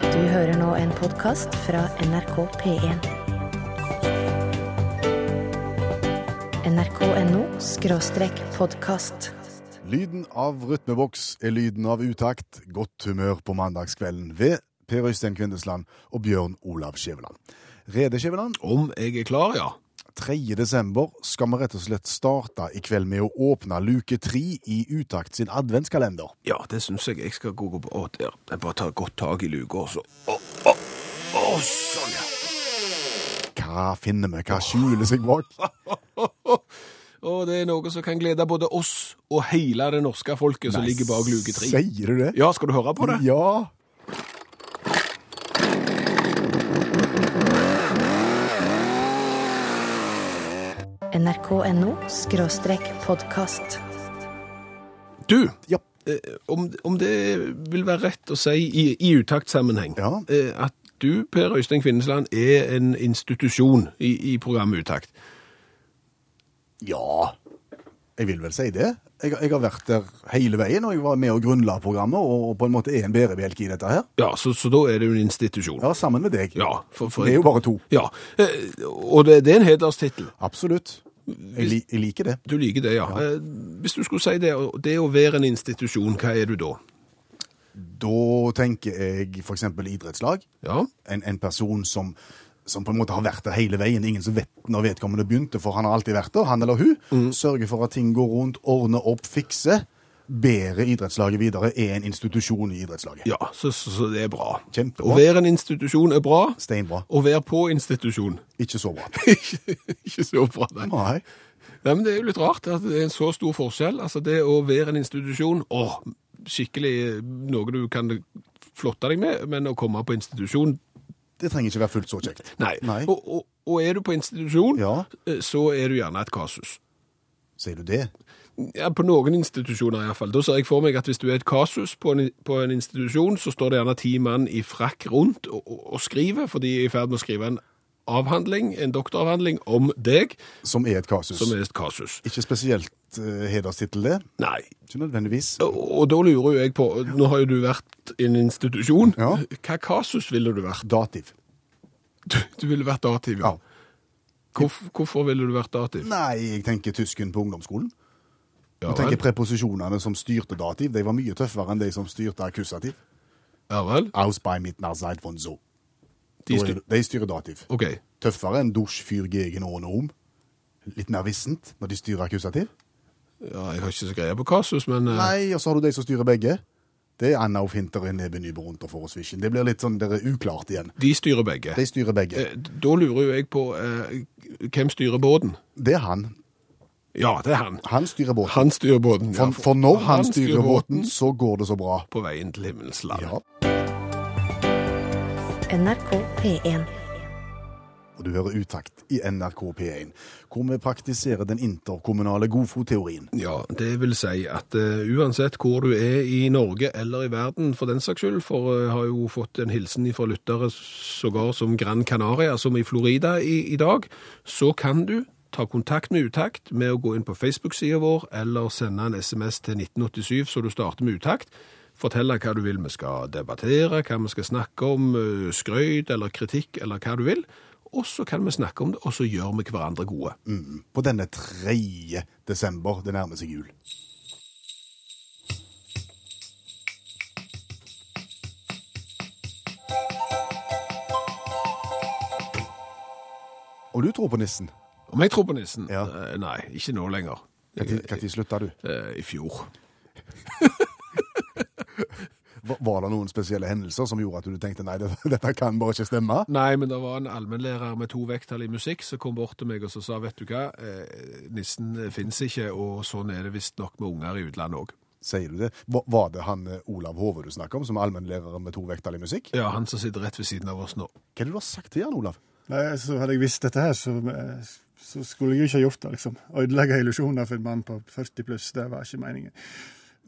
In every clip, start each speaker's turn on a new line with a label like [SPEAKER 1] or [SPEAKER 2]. [SPEAKER 1] Du hører nå en podkast fra NRK P1. NRK.no skråstrek podkast.
[SPEAKER 2] Lyden av rytmeboks er lyden av utakt, godt humør på mandagskvelden ved Per Øystein Kvindesland og Bjørn Olav Skjæveland. Rede Skjæveland,
[SPEAKER 3] Om jeg er klar, ja.
[SPEAKER 2] 3. desember skal vi rett og slett starte i kveld med å åpne luke tre i Utakt sin adventskalender.
[SPEAKER 3] Ja, det syns jeg jeg skal gå gå på. Å, der. Jeg bare tar godt tak i luka, og så Å, å, å, sånn, ja.
[SPEAKER 2] Hva finner vi, hva skjuler seg bak?
[SPEAKER 3] Å, det er noe som kan glede både oss og hele det norske folket som ligger bak luke tre.
[SPEAKER 2] Sier du det?
[SPEAKER 3] Ja, skal du høre på det?
[SPEAKER 2] Ja.
[SPEAKER 1] NRK.no skråstrek podkast.
[SPEAKER 3] Du,
[SPEAKER 2] Ja.
[SPEAKER 3] eh, om, om det vil være rett å si i, i utaktsammenheng
[SPEAKER 2] Ja.
[SPEAKER 3] eh, at du, Per Øystein Kvindesland, er en institusjon i, i programmet Utakt.
[SPEAKER 2] Ja. Jeg vil vel si det. Jeg, jeg har vært der hele veien, og jeg var med og grunnla programmet, og, og på en måte er en bærebjelke i dette her.
[SPEAKER 3] Ja, så, så da er det jo en institusjon.
[SPEAKER 2] Ja, sammen med deg.
[SPEAKER 3] Ja, for, for,
[SPEAKER 2] Det er jo bare to.
[SPEAKER 3] Ja, eh, og det, det er en hederstittel.
[SPEAKER 2] Absolutt. Jeg, li, jeg liker det.
[SPEAKER 3] Du liker det, ja. Eh, Hvis du skulle si det, og det å være en institusjon, hva er du da?
[SPEAKER 2] Da tenker jeg f.eks. idrettslag.
[SPEAKER 3] Ja,
[SPEAKER 2] En, en person som, som på en måte har vært der hele veien. Ingen som vet når vedkommende begynte, for han har alltid vært der, han eller hun.
[SPEAKER 3] Mm.
[SPEAKER 2] Sørger for at ting går rundt, ordner opp, fikser. Bærer idrettslaget videre, er en institusjon i idrettslaget.
[SPEAKER 3] ja så, så, så det er bra.
[SPEAKER 2] Kjempebra.
[SPEAKER 3] Å være en institusjon er bra.
[SPEAKER 2] Steinbra.
[SPEAKER 3] Å være på institusjon.
[SPEAKER 2] Ikke så bra.
[SPEAKER 3] Ikke så bra, nei.
[SPEAKER 2] Nei.
[SPEAKER 3] nei. Men det er jo litt rart at det er en så stor forskjell. Altså det å være en institusjon, åh, skikkelig eh, noe du kan flotte deg med, men å komme på institusjon,
[SPEAKER 2] Det trenger ikke være fullt så kjekt.
[SPEAKER 3] nei.
[SPEAKER 2] Nei.
[SPEAKER 3] Og, og, og er du på institusjon,
[SPEAKER 2] Ja.
[SPEAKER 3] eh, så er du gjerne et kasus.
[SPEAKER 2] Sier du det?
[SPEAKER 3] Ja, på noen institusjoner iallfall. Da ser jeg for meg at hvis du er et kasus på en, på en institusjon, så står det gjerne ti mann i frakk rundt og, og, og skriver, for de er i ferd med å skrive en avhandling, en doktoravhandling, om deg,
[SPEAKER 2] Som er et kasus.
[SPEAKER 3] som er et kasus.
[SPEAKER 2] Ikke spesielt uh, hederstittel, det.
[SPEAKER 3] Nei.
[SPEAKER 2] Ikke nødvendigvis.
[SPEAKER 3] Og, og da lurer jo jeg på Nå har jo du vært i en institusjon.
[SPEAKER 2] Ja.
[SPEAKER 3] Hva kasus ville du vært?
[SPEAKER 2] Dativ.
[SPEAKER 3] Du, du ville vært dativ, ja.
[SPEAKER 2] Ja.
[SPEAKER 3] Hvorf, hvorfor ville du vært dativ?
[SPEAKER 2] Nei, jeg tenker tysken på ungdomsskolen.
[SPEAKER 3] Ja
[SPEAKER 2] Jeg
[SPEAKER 3] vel.
[SPEAKER 2] tenker preposisjonene som styrte dativ, de var mye tøffere enn de som styrte akkusativ.
[SPEAKER 3] Ja vel.
[SPEAKER 2] Aus bei mit nach Zeit von so.
[SPEAKER 3] De
[SPEAKER 2] Da er
[SPEAKER 3] styr...
[SPEAKER 2] det- De styrer dativ.
[SPEAKER 3] OK.
[SPEAKER 2] Tøffere enn dusj, fyr, gegen, ån og om. Litt mer vissent når de styrer akkusativ.
[SPEAKER 3] Ja, jeg har ikke så greie på kasus, men eh,
[SPEAKER 2] Nei, og så har du de som styrer begge. Det er Anna og Finter og Nebe Nybe rundt og for og svisjen. Det blir litt sånn der uklart igjen.
[SPEAKER 3] de styrer begge.
[SPEAKER 2] De styrer begge.
[SPEAKER 3] Eh, Da lurer jo jeg på eh, hvem styrer båten?
[SPEAKER 2] Det er han.
[SPEAKER 3] Ja, det er han.
[SPEAKER 2] Han styrer båten.
[SPEAKER 3] Han styrer båten.
[SPEAKER 2] For,
[SPEAKER 3] ja,
[SPEAKER 2] for når han styrer båten, så går det så bra.
[SPEAKER 3] På veien til himmelens land.
[SPEAKER 2] Ja.
[SPEAKER 1] NRK P1.
[SPEAKER 2] Og du hører utakt i NRK P1, hvor vi praktiserer den interkommunale godfotteorien.
[SPEAKER 3] Ja, det vil si at eh, uansett hvor du er i Norge eller i verden for den saks skyld, for jeg har jo fått en hilsen fra lyttere sågar som Gran Canaria, som i Florida i, i dag, så kan du ta kontakt med Utakt med å gå inn på Facebook-sida vår eller sende en SMS til 1987 så du starter med Utakt. Fortelle hva du vil vi skal debattere, hva vi skal snakke om, eh, skrøyt eller kritikk eller hva du vil. Og så kan vi snakke om det, og så gjør vi hverandre gode.
[SPEAKER 2] Mm. På denne 3. desember, det nærmer seg jul. Og du tror på nissen.
[SPEAKER 3] Om jeg tror på nissen?
[SPEAKER 2] Ja.
[SPEAKER 3] Eh, Nei, ikke nå lenger.
[SPEAKER 2] Når slutta du?
[SPEAKER 3] Eh, I fjor.
[SPEAKER 2] Va- Var det noen spesielle hendelser som gjorde at du tenkte nei, dette, dette kan bare ikke stemme?
[SPEAKER 3] Nei, men det var en allmennlærer med to vekttall i musikk som kom bort til meg og så sa vet du hva, eh, nissen fins ikke, og sånn er det visstnok med unger i utlandet òg.
[SPEAKER 2] Sier du det? Va- Var det han eh, Olav Hove du snakker om, som er allmennlærer med to vekttall i musikk?
[SPEAKER 3] Ja, han som sitter rett ved siden av oss nå.
[SPEAKER 2] Hva er det du har sagt til han, Olav?
[SPEAKER 4] Nei, altså, Hadde jeg visst dette her, så, eh, så skulle jeg jo ikke ha gjort det. liksom. Ødelegge illusjoner for en mann på 40 pluss, det var ikke meningen.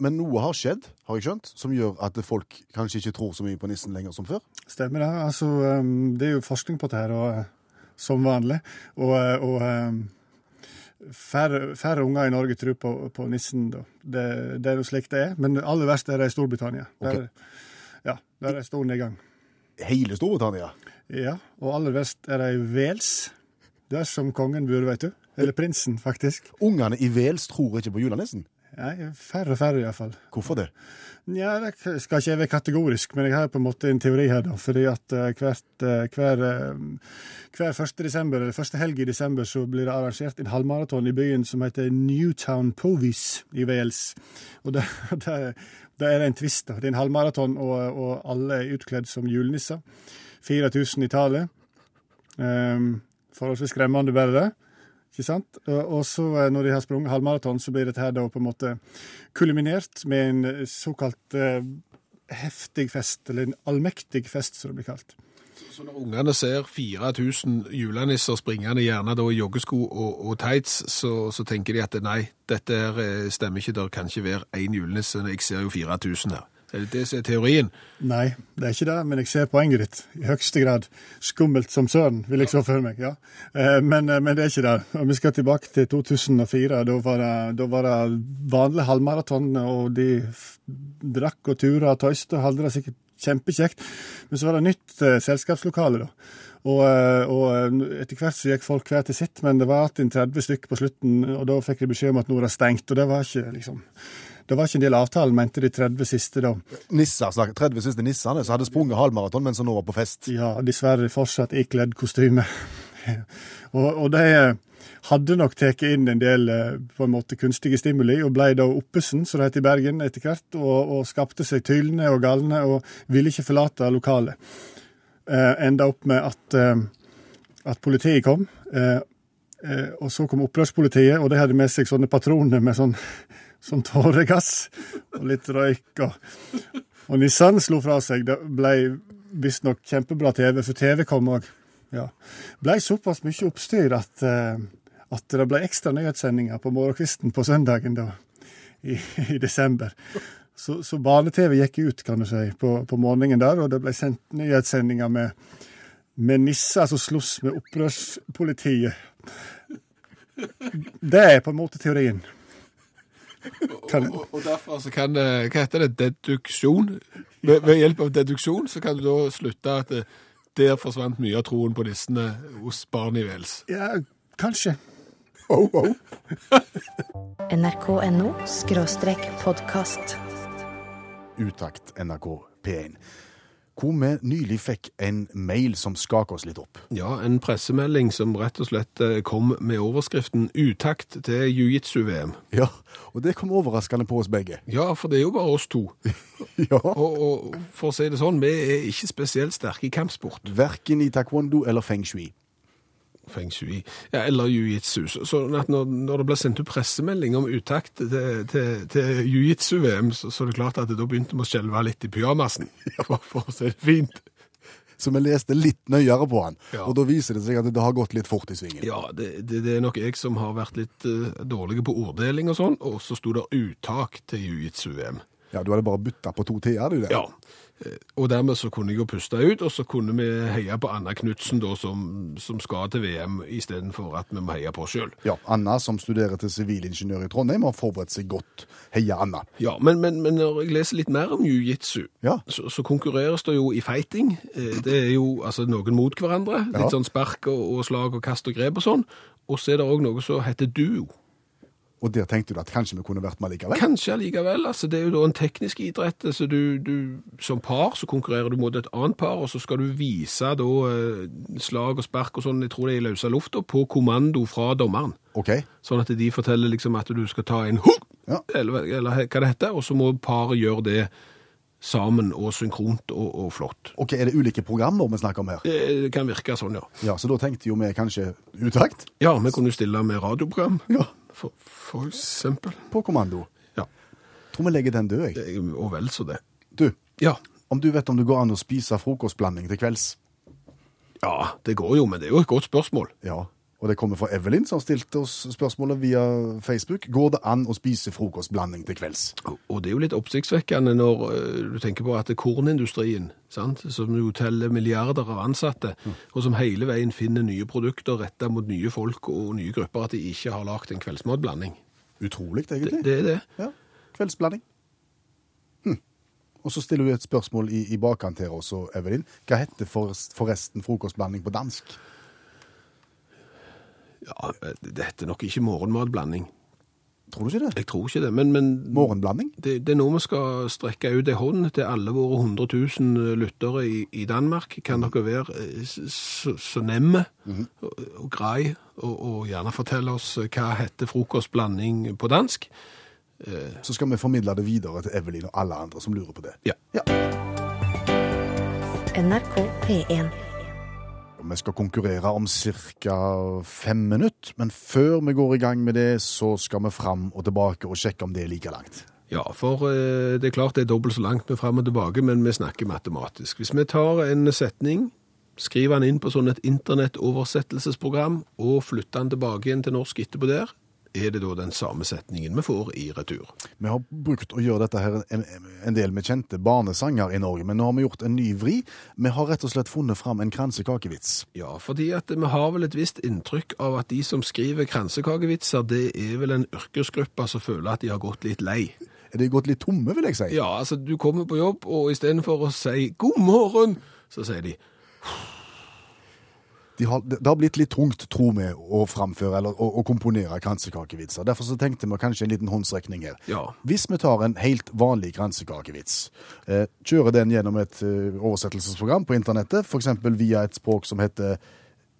[SPEAKER 2] Men noe har skjedd, har jeg skjønt, som gjør at folk kanskje ikke tror så mye på nissen lenger som før.
[SPEAKER 4] Stemmer det. altså, eh, Det er jo forskning på dette her, og, eh, som vanlig. Og, eh, og eh, færre, færre unger i Norge tror på, på nissen, da. Det, det er jo slik det er. Men aller verst er det i Storbritannia. Der,
[SPEAKER 2] Ok.
[SPEAKER 4] Ja, der er det stor nedgang.
[SPEAKER 2] hele Storbritannia.
[SPEAKER 4] Ja, og aller verst er det i Wales, der som kongen bor, vet du. Eller prinsen, faktisk.
[SPEAKER 2] Ungene i Wales tror ikke på julenissen.
[SPEAKER 4] Nei, færre og færre, iallfall.
[SPEAKER 2] Hvorfor det?
[SPEAKER 4] Nja, det k- skal ikke jeg være kategorisk, men jeg har på en måte en teori her, da. Fordi at eh, hvert, eh, hver, eh, hver første, desember, eller første helg i desember så blir det arrangert en halvmaraton i byen som heter Newtown Povies i Wales. Og der, der, der er det en twist, da. Det er en halvmaraton, og, og alle er utkledd som julenisser. 4000 i tallet. Ehm, forholdsvis skremmende, bare det. Ikke sant? Og og så eh, når de har sprunget halvmaraton, så blir dette her da på en måte kulminert med en eh, såkalt eh, heftig fest, eller en allmektig fest, som det blir kalt.
[SPEAKER 3] Så når ungene ser 4000 julenisser springende gjerne da i joggesko og, og tights, så, så tenker de at nei, dette her eh, stemmer ikke, der kan ikke være én julenisse, jeg ser jo 4000 her. Det er det som er teorien.
[SPEAKER 4] Nei, det er ikke det, men jeg ser poenget ditt. I høyeste grad. Skummelt som søren, vil jeg så for meg. ja. Eh, Men, eh, men det er ikke det. Og Vi skal tilbake til 2004. Da var det, da var det vanlig halvmaraton, og de f- drakk og tura og tøyste. og Hadde det sikkert kjempekjekt. Men så var det nytt eh, selskapslokale, da. Og, eh, og eh, etter hvert så gikk folk hver til sitt, men det var alltid en 30 stykker på slutten, og da fikk de beskjed om at nå er det stengt, og det var ikke liksom det var ikke en del av avtalen, mente de 30 siste da.
[SPEAKER 2] Nisser, snakk- 30 siste nissene som hadde sprunget halvmaraton, men som nå var på fest.
[SPEAKER 4] Ja, dessverre fortsatt ikledd kostyme. og, og de hadde nok tatt inn en del eh, på en måte kunstige stimuli, og ble da oppesen, som det heter i Bergen etter hvert, og, og skapte seg tylne og galne, og ville ikke forlate lokalet. Eh, enda opp med at, eh, at politiet kom, eh, eh, og så kom opprørspolitiet, og de hadde med seg sånne patroner med sånn, sånn tåregass og litt røyk og og Nissan slo fra seg. Det ble visstnok kjempebra TV, for TV kom òg. Ja. Ble såpass mye oppstyr at, eh, at det ble ekstra nyhetssendinger på morgenkvisten på søndagen da, i, i desember. Så, så barne-TV gikk ut kan du si, på, på morgenen der, og det ble sendt nyhetssendinger med, med nisser som sloss med opprørspolitiet. Det er på en måte teorien. Kan,
[SPEAKER 3] Og, og derfor så kan eh, Hva heter det? Deduksjon? Ved, ved hjelp av deduksjon så kan du da slutte at eh, der forsvant mye av troen på nissene hos barn i Wales.
[SPEAKER 4] ja, kanskje.
[SPEAKER 1] NRK.no skråstrek podkast.
[SPEAKER 2] Utakt NRK P1. Hvor vi nylig fikk en mail som skaker oss litt opp.
[SPEAKER 3] Ja, en pressemelding som rett og slett eh, kom med overskriften 'Utakt til jiu-jitsu-VM'.
[SPEAKER 2] Ja, og det kom overraskende på oss begge.
[SPEAKER 3] Ja, for det er jo bare oss to.
[SPEAKER 2] Ja.
[SPEAKER 3] Og, og for å si det sånn, vi er ikke spesielt sterke i kampsport.
[SPEAKER 2] Verken i taekwondo eller feng shui.
[SPEAKER 3] Feng shui, ja, eller jiu-jitsu. Så- Sånn at når, når det ble sendt ut pressemelding om utakt til, til, til jiu-jitsu-VM, så, så er det klart at da begynte vi å skjelve litt i pyjamasen, for, for å si det fint.
[SPEAKER 2] Så vi leste litt nøyere på han,
[SPEAKER 3] Ja.
[SPEAKER 2] og da viser det seg at det har gått litt fort i svingen.
[SPEAKER 3] Ja, det, det, det er nok jeg som har vært litt eh, dårlig på orddeling og sånn, og så sto det 'uttak til jiu-jitsu-VM'.
[SPEAKER 2] Ja, du hadde bare bytta på to t-er, du der.
[SPEAKER 3] Ja. Eh, Og dermed så kunne jeg jo puste ut, og så kunne vi heie på Anna Knutsen da, som, som skal til VM, istedenfor at vi må heie på oss sjøl.
[SPEAKER 2] Ja, Anna, som studerer til sivilingeniør i Trondheim, har forberedt seg godt. Heia, Anna.
[SPEAKER 3] Ja, men, men, men når jeg leser litt mer om jiu-jitsu,
[SPEAKER 2] Ja.
[SPEAKER 3] så, så konkurreres det jo i fighting. Eh, Det er jo altså noen mot hverandre.
[SPEAKER 2] Ja.
[SPEAKER 3] Litt sånn spark og, og slag og kast og grep og sånn. Og så er det òg noe som heter duo.
[SPEAKER 2] Og der tenkte du at kanskje vi kunne vært med likevel?
[SPEAKER 3] Kanskje allikevel. Altså, det er jo da en teknisk idrett. Altså, du, du, som par så konkurrerer du mot et annet par, og så skal du vise da, eh, slag og spark og sånn, jeg tror det er i løse lufta, på kommando fra dommeren.
[SPEAKER 2] OK.
[SPEAKER 3] Sånn at de forteller liksom at du skal ta en hugg,
[SPEAKER 2] Ja.
[SPEAKER 3] eller, eller hva det heter, og så må paret gjøre det sammen og synkront og, og flott.
[SPEAKER 2] Ok, Er det ulike programmer vi snakker om her?
[SPEAKER 3] Det kan virke sånn, ja.
[SPEAKER 2] Ja, Så da tenkte jo vi kanskje utakt?
[SPEAKER 3] Ja, vi kunne jo stille med radioprogram,
[SPEAKER 2] Ja.
[SPEAKER 3] for, for eksempel.
[SPEAKER 2] På kommando.
[SPEAKER 3] Ja,
[SPEAKER 2] Tror vi legger den død, jeg.
[SPEAKER 3] det er jo- og vel så det.
[SPEAKER 2] Du,
[SPEAKER 3] Ja,
[SPEAKER 2] om du vet om det går an å spise frokostblanding til kvelds?
[SPEAKER 3] ja, det går jo, men det er jo et godt spørsmål.
[SPEAKER 2] Ja. Og det kommer fra Evelyn, som stilte oss spørsmålet via Facebook. Går det an å spise frokostblanding til kvelds?
[SPEAKER 3] Og det er jo litt oppsiktsvekkende når eh, du tenker på at kornindustrien, sant? som jo teller milliarder av ansatte, og som hele veien finner nye produkter retta mot nye folk og nye grupper, at de ikke har lagd en kveldsmatblanding.
[SPEAKER 2] Utrolig,
[SPEAKER 3] Det,
[SPEAKER 2] egentlig.
[SPEAKER 3] det er det.
[SPEAKER 2] Ja. Kveldsblanding. Hm. Og så stiller hun et spørsmål i, i bakkant her også, Evelyn. Hva heter for- forresten frokostblanding på dansk?
[SPEAKER 3] Ja, det heter nok ikke morgenmatblanding.
[SPEAKER 2] Tror du ikke det?
[SPEAKER 3] Jeg tror ikke det, men, men
[SPEAKER 2] Morgenblanding?
[SPEAKER 3] det, det er nå vi skal strekke ut en hånd til alle våre 100 000 lyttere i, i Danmark. Kan dere være eh, s- så, så nemme og, og grei, og, og gjerne fortelle oss eh, hva heter frokostblanding på dansk?
[SPEAKER 2] Så skal vi formidle det videre til Evelyn og alle andre som lurer på det.
[SPEAKER 3] Ja.
[SPEAKER 1] NRK P1.
[SPEAKER 2] Vi skal konkurrere om ca. fem minutter, men før vi går i gang med det, så skal vi fram og tilbake og sjekke om det er like langt.
[SPEAKER 3] Ja, for eh, det er klart det er dobbelt så langt med frem og tilbake, men vi snakker matematisk. Hvis vi tar en setning, skriver den inn på sånn et internettoversettelsesprogram, og flytter den tilbake igjen til norsk etterpå der, er det da den samme setningen vi får i retur.
[SPEAKER 2] Vi har brukt å gjøre dette her en, en del med kjente barnesanger i Norge, men nå har vi gjort en ny vri. Vi har rett og slett funnet fram en kransekakevits.
[SPEAKER 3] Ja, fordi at vi har vel et visst inntrykk av at de som skriver kransekakevitser, det er vel en yrkesgruppe som føler at de har gått litt lei.
[SPEAKER 2] Er de gått litt tomme, vil jeg si?
[SPEAKER 3] Ja, altså du kommer på jobb, og istedenfor å si 'god morgen', så sier de
[SPEAKER 2] De har, det har blitt litt tungt, tro vi, å framføre eller å, å komponere kransekakevitser. Derfor så tenkte vi kanskje en liten håndsrekning her.
[SPEAKER 3] Ja.
[SPEAKER 2] Hvis vi tar en helt vanlig kransekakevits, eh, kjører den gjennom et eh, oversettelsesprogram på internettet, f.eks. via et språk som heter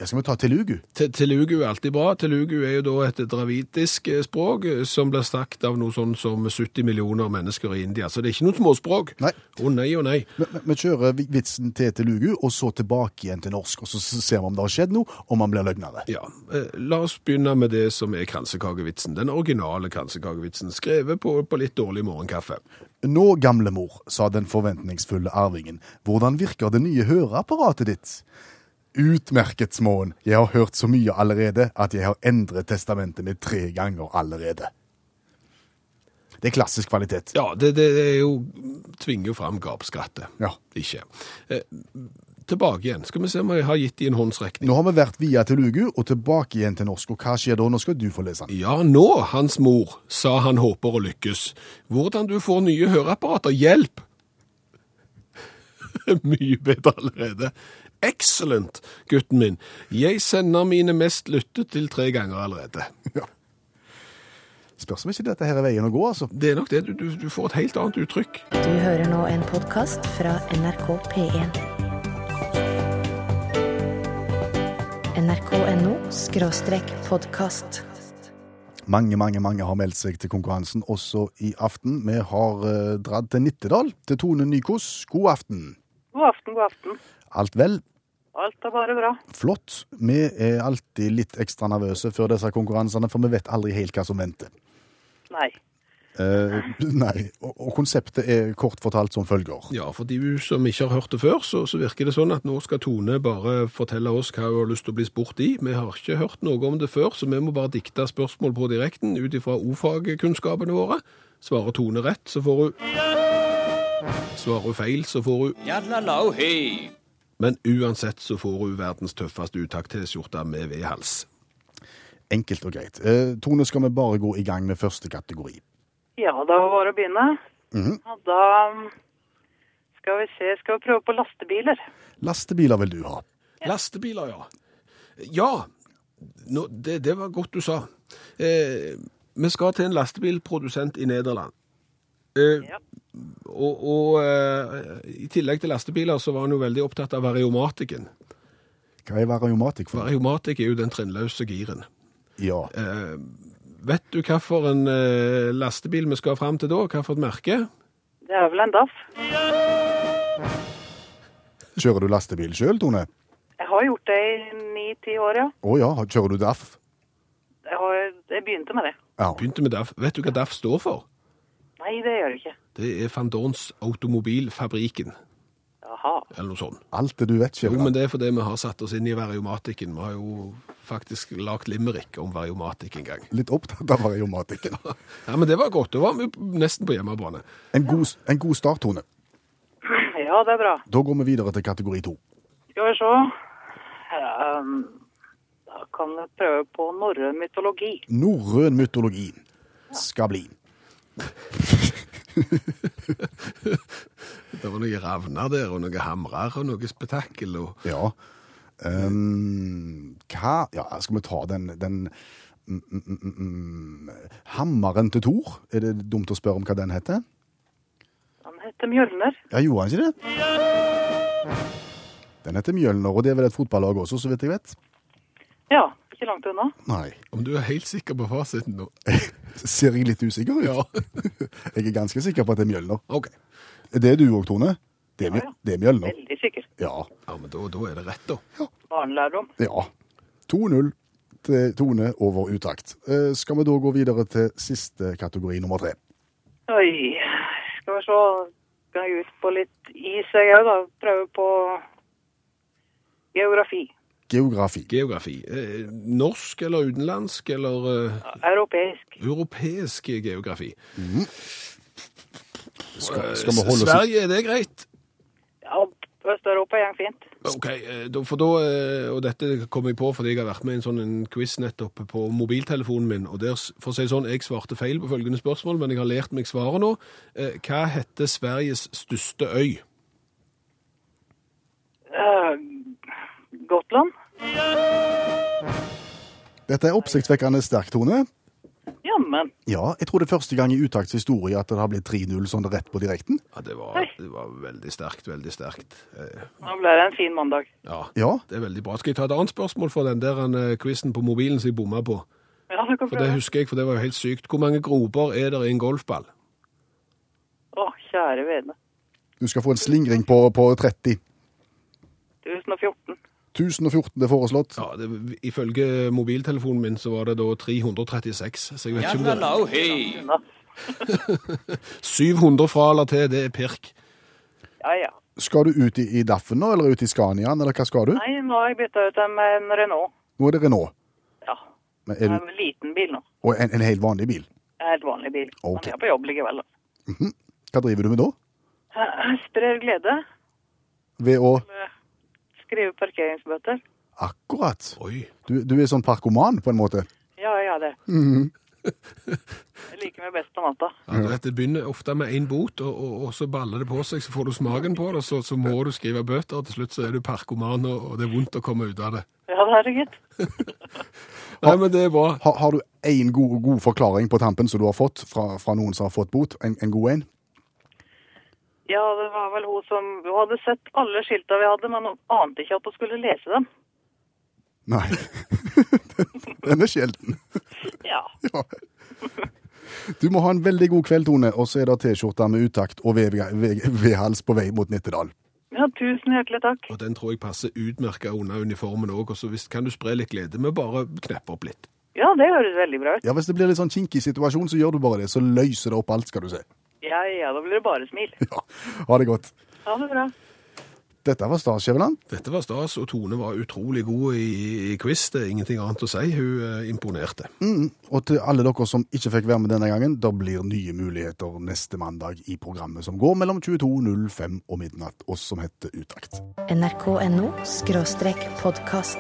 [SPEAKER 2] ja, Skal vi ta telugu?
[SPEAKER 3] Te- Telugu er alltid bra. Telugu er jo da et dravidisk eh, språk eh, som blir snakket av noe sånn som 70 millioner mennesker i India. Så det er ikke noe småspråk.
[SPEAKER 2] Nei.
[SPEAKER 3] Å nei, å nei.
[SPEAKER 2] Vi, vi- vi kjører vi- vitsen til telugu, og så tilbake igjen til norsk. Og så s- ser vi om det har skjedd noe, om man blir løgnere.
[SPEAKER 3] Ja, eh, La oss begynne med det som er kransekakevitsen. Den originale kransekakevitsen, skrevet på, på litt dårlig morgenkaffe.
[SPEAKER 2] Nå, gamle mor, sa den forventningsfulle arvingen, hvordan virker det nye høreapparatet ditt? Utmerket, småen. Jeg har hørt så mye allerede at jeg har endret testamentet mitt tre ganger allerede. Det er klassisk kvalitet.
[SPEAKER 3] Ja, det, det er jo tvinger jo fram gapskrattet.
[SPEAKER 2] Ja.
[SPEAKER 3] Ikke. Eh, tilbake igjen. Skal vi se om jeg har gitt de en håndsrekning.
[SPEAKER 2] Nå har vi vært via til Lugu og tilbake igjen til norsk, og hva skjer da? Nå skal du få lese den.
[SPEAKER 3] Ja, nå, hans mor, sa han håper å lykkes. Hvordan du får nye høreapparater, hjelp! Mye bedre allerede. Excellent, gutten min. Jeg sender mine mest lyttet til tre ganger allerede.
[SPEAKER 2] Spørs om ikke dette her er veien å gå, altså.
[SPEAKER 3] Det er nok det, du, du, du får et helt annet uttrykk.
[SPEAKER 1] Du hører nå en podkast fra NRK P1. NRK.no skråstrek podkast.
[SPEAKER 2] Mange, mange, mange har meldt seg til konkurransen også i aften. Vi har eh, dratt til Nittedal, til Tone Nykos. God aften.
[SPEAKER 5] God aften, god aften.
[SPEAKER 2] Alt vel?
[SPEAKER 5] Alt er bare bra.
[SPEAKER 2] Flott. Vi er alltid litt ekstra nervøse før disse konkurransene, for vi vet aldri helt hva som venter.
[SPEAKER 5] Nei.
[SPEAKER 2] Eh, nei, og, og konseptet er kort fortalt som følger.
[SPEAKER 3] Ja, for de som ikke har hørt det før, så, så virker det sånn at nå skal Tone bare fortelle oss hva hun har lyst til å bli spurt i. Vi har ikke hørt noe om det før, så vi må bare dikte spørsmål på direkten ut ifra ordfagkunnskapene våre. Svarer Tone rett, så får hun Svarer hun feil, så får hun
[SPEAKER 6] Yadlalau hei.
[SPEAKER 3] Men uansett så får hun verdens tøffeste utakt-T-skjorte med V-hals.
[SPEAKER 2] Enkelt og greit. Eh, Tone, skal vi bare gå i gang med første kategori?
[SPEAKER 5] Ja, da var det bare å begynne. Og da um, skal vi se, skal vi prøve på lastebiler.
[SPEAKER 2] Lastebiler vil du ha.
[SPEAKER 3] Lastebiler, ja. Ja, nå, det, det var godt du sa. Eh, vi skal til en lastebilprodusent i Nederland. Eh,
[SPEAKER 5] Ja.
[SPEAKER 3] Og, og eh, i tillegg til lastebiler så var han jo veldig opptatt av variomatikken.
[SPEAKER 2] Hva er variomatikk for?
[SPEAKER 3] Variomatikk er jo den trinnløse giren.
[SPEAKER 2] Ja.
[SPEAKER 3] Eh, vet du hvilken eh, lastebil vi skal fram til da? Hvilket merke?
[SPEAKER 5] Det er vel en DAF.
[SPEAKER 2] Kjører du lastebil sjøl, Tone?
[SPEAKER 5] Jeg har gjort det i ni-ti år, ja.
[SPEAKER 2] Å ja, kjører du DAF?
[SPEAKER 5] Jeg, har, jeg begynte med det.
[SPEAKER 2] Ja.
[SPEAKER 3] Begynte med DAF. Vet du hva DAF står for?
[SPEAKER 5] Nei, det gjør jeg ikke.
[SPEAKER 3] Det er Van Dorns Automobilfabrikken,
[SPEAKER 5] Jaha.
[SPEAKER 3] eller noe sånt.
[SPEAKER 2] Alt det du vet,
[SPEAKER 3] Jo, men
[SPEAKER 2] Skjæveland.
[SPEAKER 3] det er fordi vi har satt oss inn i variomatikken. Vi har jo faktisk lagt limerick om variomatikk en gang.
[SPEAKER 2] Litt opptatt av variomatikken.
[SPEAKER 3] Ja, men det var godt. Da var vi nesten på hjemmebane.
[SPEAKER 2] En god, en god start, Tone.
[SPEAKER 5] Ja, det er bra.
[SPEAKER 2] Da går vi videre til kategori to.
[SPEAKER 5] Skal vi se. Um, da kan vi prøve på norrøn mytologi.
[SPEAKER 2] Norrøn mytologi skal bli.
[SPEAKER 3] Det var noen ravner der, og noen hamrer, og noe spetakkel. Og...
[SPEAKER 2] Ja. Ehm, hva Ja, skal vi ta den, den mm, mm, mm, mm, Hammeren til Thor? Er det dumt å spørre om hva den heter?
[SPEAKER 5] Han heter Mjølner.
[SPEAKER 2] Ja, gjorde han ikke det? Den heter Mjølner, og det er vel et fotballag også, så vidt jeg vet?
[SPEAKER 5] Ja, ikke langt unna.
[SPEAKER 2] Nei.
[SPEAKER 3] Om du er helt sikker på fasiten nå?
[SPEAKER 2] Ser jeg litt usikker ut?
[SPEAKER 3] Ja.
[SPEAKER 2] Jeg er ganske sikker på at det er Mjølner.
[SPEAKER 3] OK.
[SPEAKER 2] Er Det er du òg, Tone. Det er,
[SPEAKER 5] Ja, ja.
[SPEAKER 2] Mjøl- det er Mjølner.
[SPEAKER 5] Veldig sikker.
[SPEAKER 2] Ja.
[SPEAKER 3] Ja, men da, da er det rett, da.
[SPEAKER 5] Barnelærdom.
[SPEAKER 2] ja. 2-0 til Tone over utakt. Eh, Skal vi da gå videre til siste kategori, nummer tre?
[SPEAKER 5] Oi, skal vi se. Skal jeg ut på litt is, jeg òg, da. Prøve på geografi.
[SPEAKER 2] Geografi.
[SPEAKER 3] Geografi. Eh, norsk eller utenlandsk eller eh,
[SPEAKER 5] Europeisk.
[SPEAKER 3] europeisk geografi?
[SPEAKER 2] Mm.
[SPEAKER 3] eh,
[SPEAKER 2] Skal, skal vi holde oss
[SPEAKER 3] Sverige, er det greit?
[SPEAKER 5] Ja, Øst-Europa går fint.
[SPEAKER 3] Ok, eh, da- for da, eh, og dette kom jeg på fordi jeg har vært med i en sånn en quiz nettopp på mobiltelefonen min, og der, s- for å si det sånn, jeg svarte feil på følgende spørsmål, men jeg har lært meg svaret nå. Eh, Hva heter Sveriges største øy?
[SPEAKER 5] Eh, Gotland?
[SPEAKER 2] Dette er oppsiktsvekkende sterk, Tone.
[SPEAKER 5] Jammen.
[SPEAKER 2] Ja, jeg tror det er første gang i utakts historie at det har blitt 3-0 sånn rett på direkten.
[SPEAKER 3] Ja, det var,
[SPEAKER 5] Hei.
[SPEAKER 3] det var veldig sterkt, veldig sterkt. Eh,
[SPEAKER 5] Da ble det en fin mandag.
[SPEAKER 3] Ja,
[SPEAKER 2] Ja.
[SPEAKER 3] det er veldig bra. Skal jeg ta et annet spørsmål fra den der eh, quizen på mobilen som jeg bomma på?
[SPEAKER 5] Ja, du kan
[SPEAKER 3] For det
[SPEAKER 5] prøve.
[SPEAKER 3] husker jeg, for det var jo helt sykt. Hvor mange groper er det i en golfball?
[SPEAKER 5] Å, kjære vene.
[SPEAKER 2] Du skal få en slingring på, på 30.
[SPEAKER 5] 1014.
[SPEAKER 2] 1014 er foreslått.
[SPEAKER 3] Ja, det, Ifølge mobiltelefonen min så var det da 336, så jeg vet ikke om det er
[SPEAKER 6] Hello, hey.
[SPEAKER 5] Unna.
[SPEAKER 3] 700 fra eller til, det er pirk.
[SPEAKER 5] Ja, ja.
[SPEAKER 2] Skal du ut i, i Daffen nå, eller ut i Scaniaen, eller hva skal du?
[SPEAKER 5] Nei, nå har jeg bytta ut dem med en Renault.
[SPEAKER 2] Nå er det Renault.
[SPEAKER 5] Ja.
[SPEAKER 2] Men
[SPEAKER 5] Det
[SPEAKER 2] er
[SPEAKER 5] er
[SPEAKER 2] du,
[SPEAKER 5] en liten bil nå.
[SPEAKER 2] og en, en helt vanlig bil.
[SPEAKER 5] En Helt vanlig bil.
[SPEAKER 2] Ok.
[SPEAKER 5] Men jeg er på jobb likevel. da.
[SPEAKER 2] Hva driver du med da?
[SPEAKER 5] Jeg Sprer glede.
[SPEAKER 2] Ved å
[SPEAKER 5] Skrive parkeringsbøter.
[SPEAKER 2] Akkurat.
[SPEAKER 3] Oi.
[SPEAKER 2] Du, du er sånn parkoman, på en måte.
[SPEAKER 5] Ja, ja, det. Jeg liker meg best på natta.
[SPEAKER 3] Ja, du vet, Det begynner ofte med én bot, og, og, og så baller det på seg. Så får du smaken på det, så, så må du skrive bøter. og Til slutt så er du parkoman, og, og det er vondt å komme ut av det.
[SPEAKER 5] Ja, det er det, gitt.
[SPEAKER 3] Nei, men det er bra.
[SPEAKER 2] Har, har du én god, god forklaring på tampen som du har fått fra, fra noen som har fått bot? En, en god en?
[SPEAKER 5] Ja, det var vel hun som Hun hadde sett alle skilta vi hadde, men hun ante ikke at hun skulle lese dem.
[SPEAKER 2] Nei. Den er sjelden.
[SPEAKER 5] Ja.
[SPEAKER 2] Ja. Du må ha en veldig god kveld, Tone, og så er det T-skjorte med utakt og ved- ved- vedhals på vei mot Nittedal.
[SPEAKER 5] ja, tusen hjertelig takk.
[SPEAKER 3] Og den tror jeg passer utmerka under uniformen òg, og så visst kan du spre litt glede med å bare kneppe opp litt.
[SPEAKER 5] Ja, det høres veldig bra ut.
[SPEAKER 2] Ja, Hvis det blir litt sånn kinkig situasjon, så gjør du bare det. Så løser det opp alt, skal du se.
[SPEAKER 5] Ja, ja, da blir det bare smil.
[SPEAKER 2] Ja, Ha det godt.
[SPEAKER 5] Ha det bra.
[SPEAKER 2] Dette var Stas Skjæveland.
[SPEAKER 3] Dette var stas, og Tone var utrolig god i, i quiz. Det er ingenting annet å si. Hun eh, imponerte.
[SPEAKER 2] Mm. Og til alle dere som ikke fikk være med denne gangen, det blir nye muligheter neste mandag i programmet som går mellom 22.05 og midnatt, og som heter Utakt.
[SPEAKER 1] NRK.no skråstrek podkast.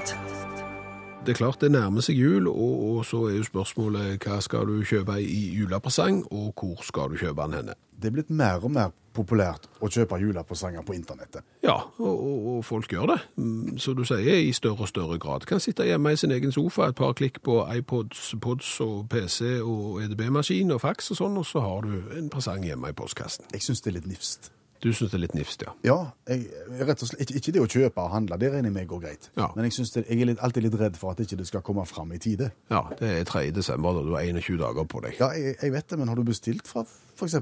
[SPEAKER 3] Det er klart det nærmer seg jul, og, og så er jo spørsmålet hva skal du kjøpe i julepresang, og hvor skal du kjøpe den henne?
[SPEAKER 2] Det er blitt mer og mer populært å kjøpe julepresanger på internettet.
[SPEAKER 3] Ja, og, og, og folk gjør det, Mm, som du sier, i større og større grad. Kan sitte hjemme i sin egen sofa, et par klikk på iPods, Pods og PC og EDB-maskin og fax og sånn, og så har du en presang hjemme i postkassen.
[SPEAKER 2] Jeg syns det er litt nifst.
[SPEAKER 3] Du synes det er litt nifst, ja.
[SPEAKER 2] Ja, jeg, rett og slett, ikke, ikke det å kjøpe og handle, det regner jeg med går greit.
[SPEAKER 3] Ja.
[SPEAKER 2] Men jeg, synes det, jeg er litt, alltid litt redd for at ikke det skal komme fram i tide.
[SPEAKER 3] Ja, det er 3. desember, da du har 21 dager på deg.
[SPEAKER 2] Ja, jeg, jeg vet det, men har du bestilt fra eh, f.eks.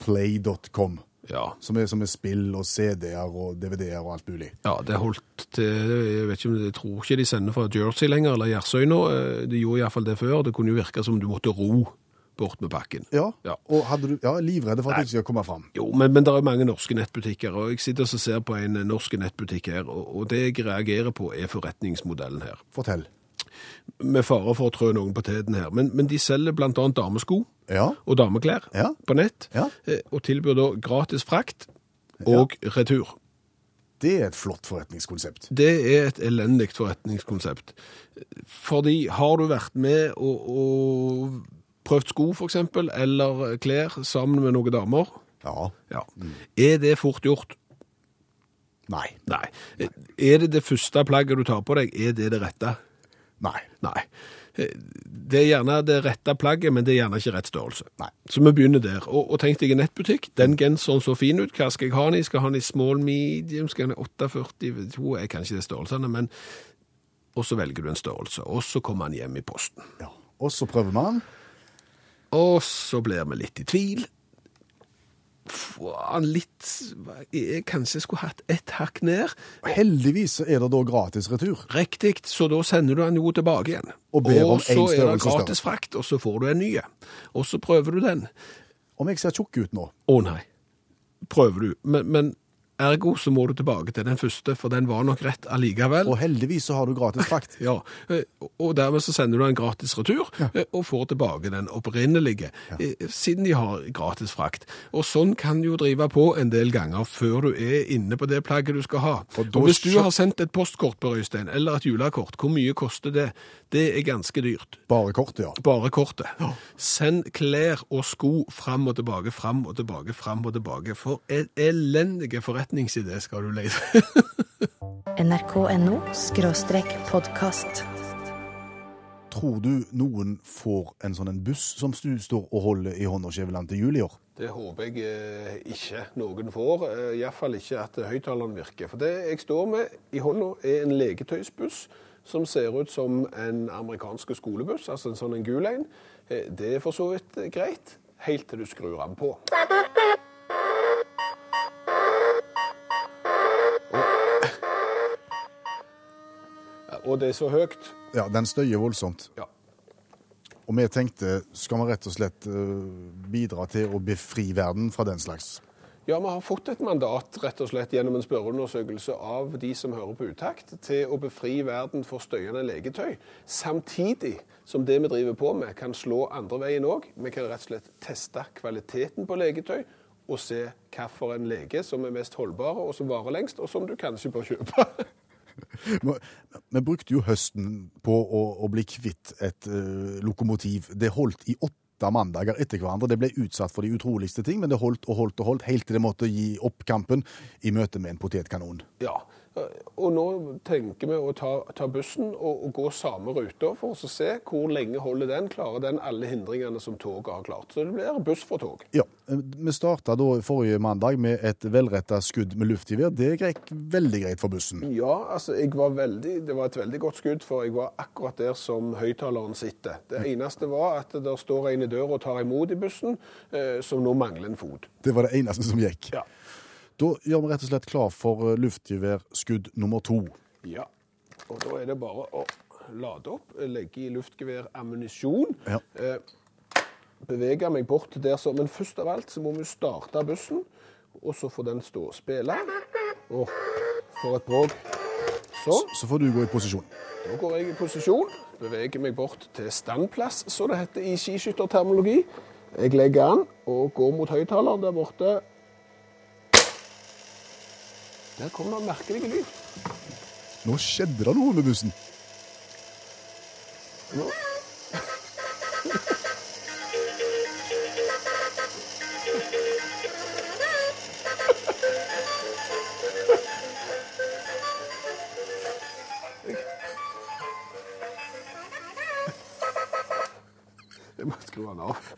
[SPEAKER 2] play.com,
[SPEAKER 3] Ja.
[SPEAKER 2] som, er- som er spill og CD-er og DVD-er og alt mulig?
[SPEAKER 3] Ja, det holdt til Jeg vet ikke om jeg tror ikke de sender fra Jersey lenger, eller Gjersøy nå. Eh, De gjorde iallfall det før. Det kunne jo virke som du måtte ro bort med pakken.
[SPEAKER 2] Ja,
[SPEAKER 3] Ja.
[SPEAKER 2] og hadde du, ja, livredd for at det ikke skal komme fram.
[SPEAKER 3] Jo, men, men det er mange norske nettbutikker, og jeg sitter og så ser på en eh, norsk nettbutikk her, og, og det jeg reagerer på, er forretningsmodellen her.
[SPEAKER 2] Fortell.
[SPEAKER 3] Med fare for å trø noen på teten her, men, men de selger bl.a. damesko
[SPEAKER 2] Ja,
[SPEAKER 3] og dameklær
[SPEAKER 2] Ja.
[SPEAKER 3] på nett,
[SPEAKER 2] Ja.
[SPEAKER 3] eh, og tilbyr da gratis frakt og retur.
[SPEAKER 2] det er et flott forretningskonsept.
[SPEAKER 3] Det er et elendig forretningskonsept. Fordi har du vært med og, og prøvd sko, for eksempel, eller klær sammen med noen damer,
[SPEAKER 2] Ja.
[SPEAKER 3] Ja. Er det fort gjort?
[SPEAKER 2] Nei.
[SPEAKER 3] Nei. Er det det første plagget du tar på deg, er det det rette?
[SPEAKER 2] Nei.
[SPEAKER 3] Nei. Det er gjerne det rette plagget, men det er gjerne ikke rett størrelse.
[SPEAKER 2] Nei.
[SPEAKER 3] Så vi begynner der. Og, og tenk deg en nettbutikk. Den genseren så fin ut. Hva skal jeg ha den i? Skal jeg ha den i small, medium? Skal jeg ha den i 48? Vet du, Jeg kan ikke de størrelsene, men Og så velger du en størrelse, og så kommer den hjem i posten.
[SPEAKER 2] Ja. Og så prøver man.
[SPEAKER 3] Og så blir vi litt i tvil. Faen, litt Jeg kanskje skulle hatt ett hakk ned.
[SPEAKER 2] Heldigvis så er det da gratis retur.
[SPEAKER 3] Riktig, så da sender du den jo tilbake igjen.
[SPEAKER 2] Og ber om en
[SPEAKER 3] så er det
[SPEAKER 2] størrelse større.
[SPEAKER 3] gratis frakt, og så får du en ny. Og så prøver du den.
[SPEAKER 2] Om jeg ser tjukk ut nå?
[SPEAKER 3] Å nei, prøver du. Men, men ergo så må du tilbake til den første, for den var nok rett allikevel.
[SPEAKER 2] Og heldigvis så har du gratis frakt.
[SPEAKER 3] Ja, eh, og dermed så sender du en gratis retur, eh, og får tilbake den opprinnelige, eh, siden de har gratis frakt. Og sånn kan du jo drive på en del ganger før du er inne på det plagget du skal ha.
[SPEAKER 2] Og
[SPEAKER 3] Og,
[SPEAKER 2] da
[SPEAKER 3] hvis du
[SPEAKER 2] skjø-
[SPEAKER 3] har sendt et postkort på Røystein, eller et julekort, hvor mye koster det? Det er ganske dyrt.
[SPEAKER 2] Bare kortet, ja.
[SPEAKER 3] Bare kortet. Send klær og sko fram og tilbake, fram og tilbake, fram og tilbake. For en elendig forretningsidé skal du lete.
[SPEAKER 1] NRK.no skråstrek podkast.
[SPEAKER 2] Tror du noen får en sånn en buss som du står og holder i hånda Skjæveland til jul i år?
[SPEAKER 3] Det håper jeg eh, ikke noen får. eh, i hvert fall ikke at høyttaleren virker. For det jeg står med i hånda, er en leketøysbuss som ser ut som en amerikansk skolebuss, altså en sånn en gul en. Eh, det er for så vidt eh, greit, helt til du skrur den på. Og, og det er så høyt.
[SPEAKER 2] Ja, den støyer voldsomt.
[SPEAKER 3] Ja.
[SPEAKER 2] Og vi tenkte, skal vi rett og slett eh, bidra til å befri verden fra den slags?
[SPEAKER 3] Ja, vi har fått et mandat rett og slett gjennom en spørreundersøkelse av de som hører på utakt, til å befri verden for støyende leketøy. Samtidig som det vi driver på med, kan slå andre veien òg. Vi kan rett og slett teste kvaliteten på leketøy. Og se hvilken leke som er mest holdbare, og som varer lengst, og som du kanskje bør kjøpe.
[SPEAKER 2] Vi vi brukte jo høsten på å, å bli kvitt et eh, lokomotiv. Det holdt i åtte mandager etter hverandre. Det ble utsatt for de utroligste ting, men det holdt og holdt og holdt, helt til det måtte gi opp kampen i møte med en potetkanon.
[SPEAKER 3] Ja, og nå tenker vi å ta, ta bussen og, og gå samme ruta for å se hvor lenge holder den, klarer den alle hindringene som toget har klart. Så det blir buss for tog.
[SPEAKER 2] Ja, eh, Vi starta da forrige mandag med et velretta skudd med luftgevær. Det gikk veldig greit for bussen.
[SPEAKER 3] Ja, altså jeg var veldig, det var et veldig godt skudd, for jeg var akkurat der som høyttaleren sitter. Det eneste var at der står en i døra og tar imot i bussen, eh, som nå mangler en fot.
[SPEAKER 2] Det var det eneste som gikk.
[SPEAKER 3] Ja.
[SPEAKER 2] Da gjør vi rett og slett klar for eh, luftgeværskudd nummer to.
[SPEAKER 3] Ja, og da er det bare å lade opp, legge i luftgevær ammunisjon,
[SPEAKER 2] Ja.
[SPEAKER 3] eh, bevege meg bort til der som, men først av alt så må vi starte bussen, og så får den stå og spille. Åh, for et bråk. Sånn.
[SPEAKER 2] Så får du gå i posisjon.
[SPEAKER 3] Da går jeg i posisjon, beveger meg bort til standplass, som det heter i skiskytterterminologi. Jeg legger an og går mot høyttaleren der borte. Der kom det en merkelig lyd.
[SPEAKER 2] Nå skjedde det noe med bussen.
[SPEAKER 3] Nå. Jeg må skru han av.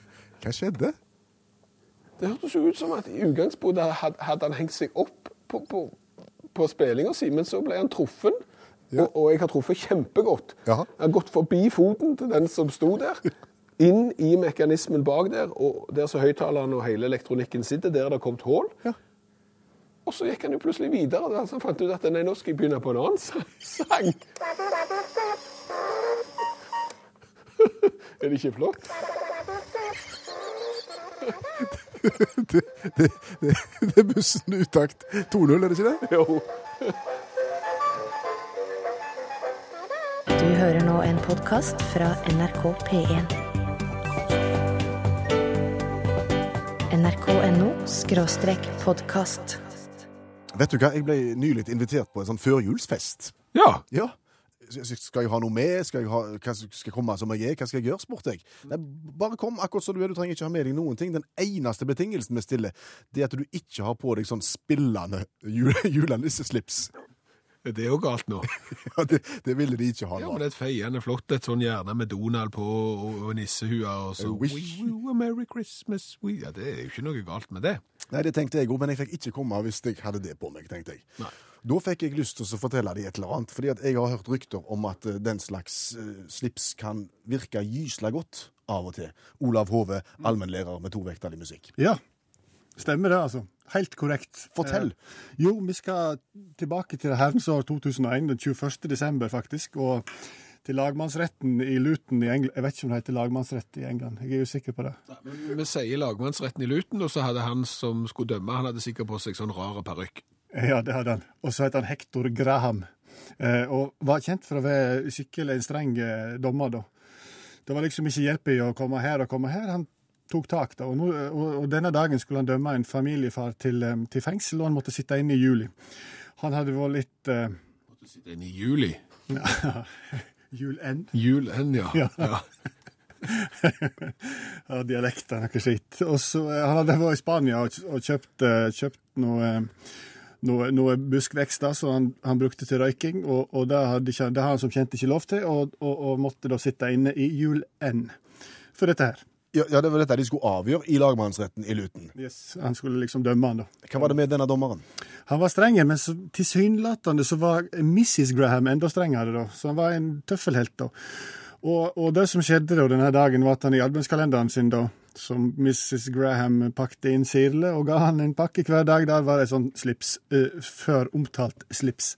[SPEAKER 2] Hva skjedde?
[SPEAKER 3] Det hørtes jo ut som at i utgangspunktet had- hadde han hengt seg opp på, på, på spillinga si, men så ble han truffen. Og, og jeg har truffet kjempegodt.
[SPEAKER 2] Ja.
[SPEAKER 3] Jeg har gått forbi foten til den som sto der, inn i mekanismen bak der, og der så høyttaleren og hele elektronikken sitter, der er det kommet hull.
[SPEAKER 2] Ja.
[SPEAKER 3] Og så gikk han jo plutselig videre, da, så han fant ut at nei, nå skal jeg begynne på en annen sang- sang. er det ikke flott?
[SPEAKER 2] Det, det, det, det er bussen utakt 2-0, er det ikke det?
[SPEAKER 3] Jo.
[SPEAKER 1] Du hører nå en podkast fra NRK P1. NRK.no skråstrek podkast.
[SPEAKER 2] Vet du hva, jeg ble nylig invitert på en sånn førjulsfest.
[SPEAKER 3] Ja.
[SPEAKER 2] Ja. Skal jeg ha noe med? Skal jeg, ha, hva skal jeg komme som jeg er? Hva skal jeg gjøre? spurte jeg. Nei, bare kom akkurat som du er. Du trenger ikke ha med deg noen ting. Den eneste betingelsen vi stiller, det er at du ikke har på deg sånn spillende jule, julenisseslips.
[SPEAKER 3] Det er jo galt nå.
[SPEAKER 2] Ja, det, det ville de ikke ha
[SPEAKER 3] Ja,
[SPEAKER 2] nå.
[SPEAKER 3] men det er et feiende flott, et sånn gjerne med Donald på og, og nissehua og
[SPEAKER 2] A
[SPEAKER 3] så
[SPEAKER 2] wish.
[SPEAKER 3] We, we, Merry Christmas, we Ja, det er jo ikke noe galt med det.
[SPEAKER 2] Nei, det tenkte jeg òg, men jeg fikk ikke komme hvis jeg hadde det på meg, tenkte jeg. Da fikk jeg lyst til å fortelle de et eller annet, fordi at jeg har hørt rykter om at eh, den slags eh, slips kan virke gysla godt av og til. Olav Hove, allmennlærer med tovektig musikk.
[SPEAKER 4] Ja, stemmer det, altså. Helt korrekt.
[SPEAKER 2] Fortell.
[SPEAKER 4] Eh, jo, vi skal tilbake til det herrens år 2001, den 21. desember faktisk, og til lagmannsretten i Luton i England. Jeg vet ikke om det heter lagmannsrett i England, jeg er usikker på det.
[SPEAKER 3] Vi sier lagmannsretten i Luton, og så hadde han som skulle dømme, han hadde sikkert på seg sånn rar parykk.
[SPEAKER 4] Ja, det hadde han. Og så het han Hector Graham, eh, og var kjent for å være skikkelig en streng eh, dommer da. Det var liksom ikke hjelp i å komme her og komme her. Han tok tak da, og, nå, eh, og, og denne dagen skulle han dømme en familiefar til, eh, til fengsel, og han måtte sitte inne i juli. Han hadde vært litt... Eh,
[SPEAKER 3] Måtte sitte inne i juli.
[SPEAKER 4] Julen.
[SPEAKER 3] Julen, ja.
[SPEAKER 4] Ja.
[SPEAKER 3] ja.
[SPEAKER 4] Ja, dialekt er noe skitt. Og så, eh, han hadde vært i Spania og, og kjøpt, eh, kjøpt noe, eh, noe, noe buskvekster som han, han brukte til røyking, og, og det, hadde ikke, det har han som kjent ikke lov til, og, og, og måtte da sitte inne i julen for dette her.
[SPEAKER 2] Ja, ja, det var dette de skulle avgjøre i lagmannsretten i Luton.
[SPEAKER 4] Han skulle liksom dømme han da.
[SPEAKER 2] Hva var det med denne dommeren?
[SPEAKER 4] Han var streng, men så- tilsynelatende så var Mrs. Graham enda strengere, da. Så han var en tøffelhelt, da. Og, og det som skjedde da denne dagen, var at han i adventskalenderen sin, da, som Mrs. Graham pakte inn sirle, og ga han en pakke hver dag, der var det et sånt slips, eh, før omtalt slips.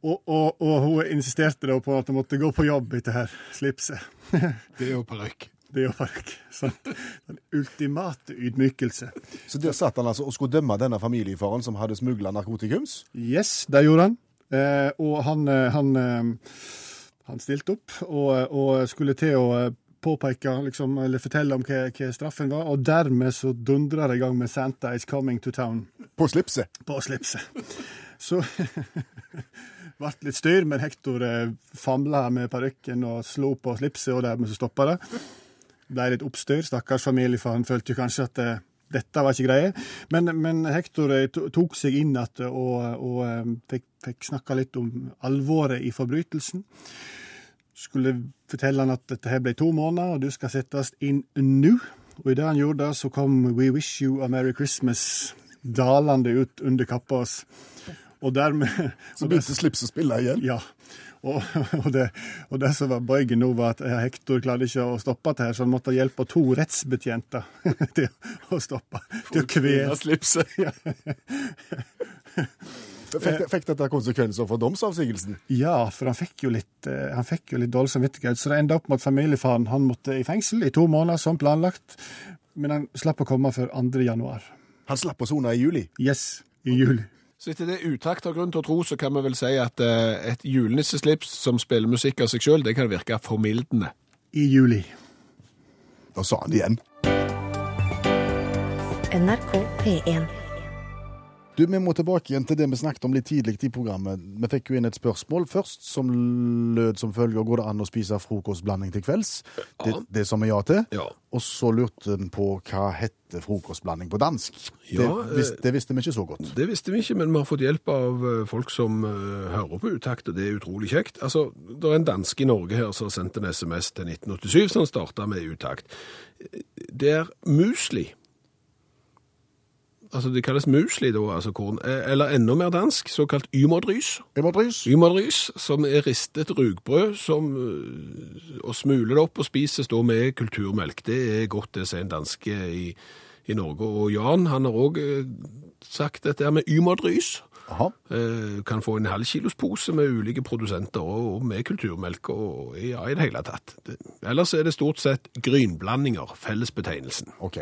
[SPEAKER 4] Og, og, og hun insisterte da på at han måtte gå på jobb i det her slipset.
[SPEAKER 3] Det og parykk.
[SPEAKER 4] Det gjorde han ikke. Sant? Den sånn, ultimate ydmykelse.
[SPEAKER 2] Så der satt han altså og skulle dømme denne familiefaren som hadde smugla narkotikums.
[SPEAKER 4] Yes, det gjorde han. Eh, og han, eh, han, eh, han stilte opp og, og skulle til å eh, påpeke, liksom, eller fortelle om hva, hva straffen var, og dermed så dundra det i gang med 'Santa is coming to town'
[SPEAKER 2] På slipset.
[SPEAKER 4] på slipset. Så ble litt styr, men Hector eh, famla med parykken og slo på slipset, og dermed så stoppa det. Ble litt oppstyr. Stakkars familiefaren følte jo kanskje at eh, dette var ikke greie. Men, men Hector eh, to- tok seg inn igjen og, og eh, fikk, fikk snakka litt om alvoret i forbrytelsen. Skulle fortelle han at dette her ble to måneder, og du skal settes inn nå. Og idet han gjorde det, så kom We Wish You a Merry Christmas dalende ut under kappa hans. Og dermed
[SPEAKER 2] Så begynte slipset å spille igjen.
[SPEAKER 4] ja. Og, og, det, og det som var bøygen nå, var at eh, Hector klarte ikke å stoppe det her, så han måtte hjelpe to rettsbetjenter til å stoppe. Til å kvele
[SPEAKER 3] slipset.
[SPEAKER 2] Fikk, fikk dette konsekvenser for domsavsigelsen?
[SPEAKER 4] Ja, for han fikk jo litt, eh, han fikk jo litt dårlig samvittighet, så det enda opp med at familiefaren han måtte i fengsel i to måneder, som planlagt. Men han slapp å komme før 2. januar.
[SPEAKER 2] Han slapp å sone i juli.
[SPEAKER 4] Yes, i juli.
[SPEAKER 3] Så etter det utakt av grunn til å tro, så kan vi vel si at eh, et julenisseslips som spiller musikk av seg sjøl, det kan virke formildende.
[SPEAKER 4] I juli.
[SPEAKER 2] Da sa han det igjen.
[SPEAKER 1] NRK P1.
[SPEAKER 2] Du, Vi må tilbake igjen til det vi snakket om litt tidlig i programmet. Vi fikk jo inn et spørsmål først, som lød som følger Går det an å spise frokostblanding til kvelds? Det, det som er ja til.
[SPEAKER 3] Ja.
[SPEAKER 2] Og så lurte en på hva heter frokostblanding på dansk. det,
[SPEAKER 3] Ja, eh,
[SPEAKER 2] vis, det visste vi ikke så godt.
[SPEAKER 3] Det visste vi ikke, men vi har fått hjelp av eh, folk som eh, hører på utakt, og det er utrolig kjekt. Altså, det er en danske i Norge her som har sendt en SMS til 1987 som starta med utakt. Det er musli. Altså, det kalles musli da, altså korn. Eh, Eller enda mer dansk, såkalt ymodrys.
[SPEAKER 2] Jeg må drys.
[SPEAKER 3] Ymodrys, som er ristet rugbrød som, øh, og smuler det opp og spises da med kulturmelk. Det er godt, det sier en danske i, i Norge. Og Jan han har òg sagt dette her med ymodrys.
[SPEAKER 2] Aha.
[SPEAKER 3] Eh, Kan få en halv kilos pose med ulike produsenter og og med kulturmelk og ja, i det hele tatt. Det- Ellers er det stort sett grynblandinger, fellesbetegnelsen.
[SPEAKER 2] OK.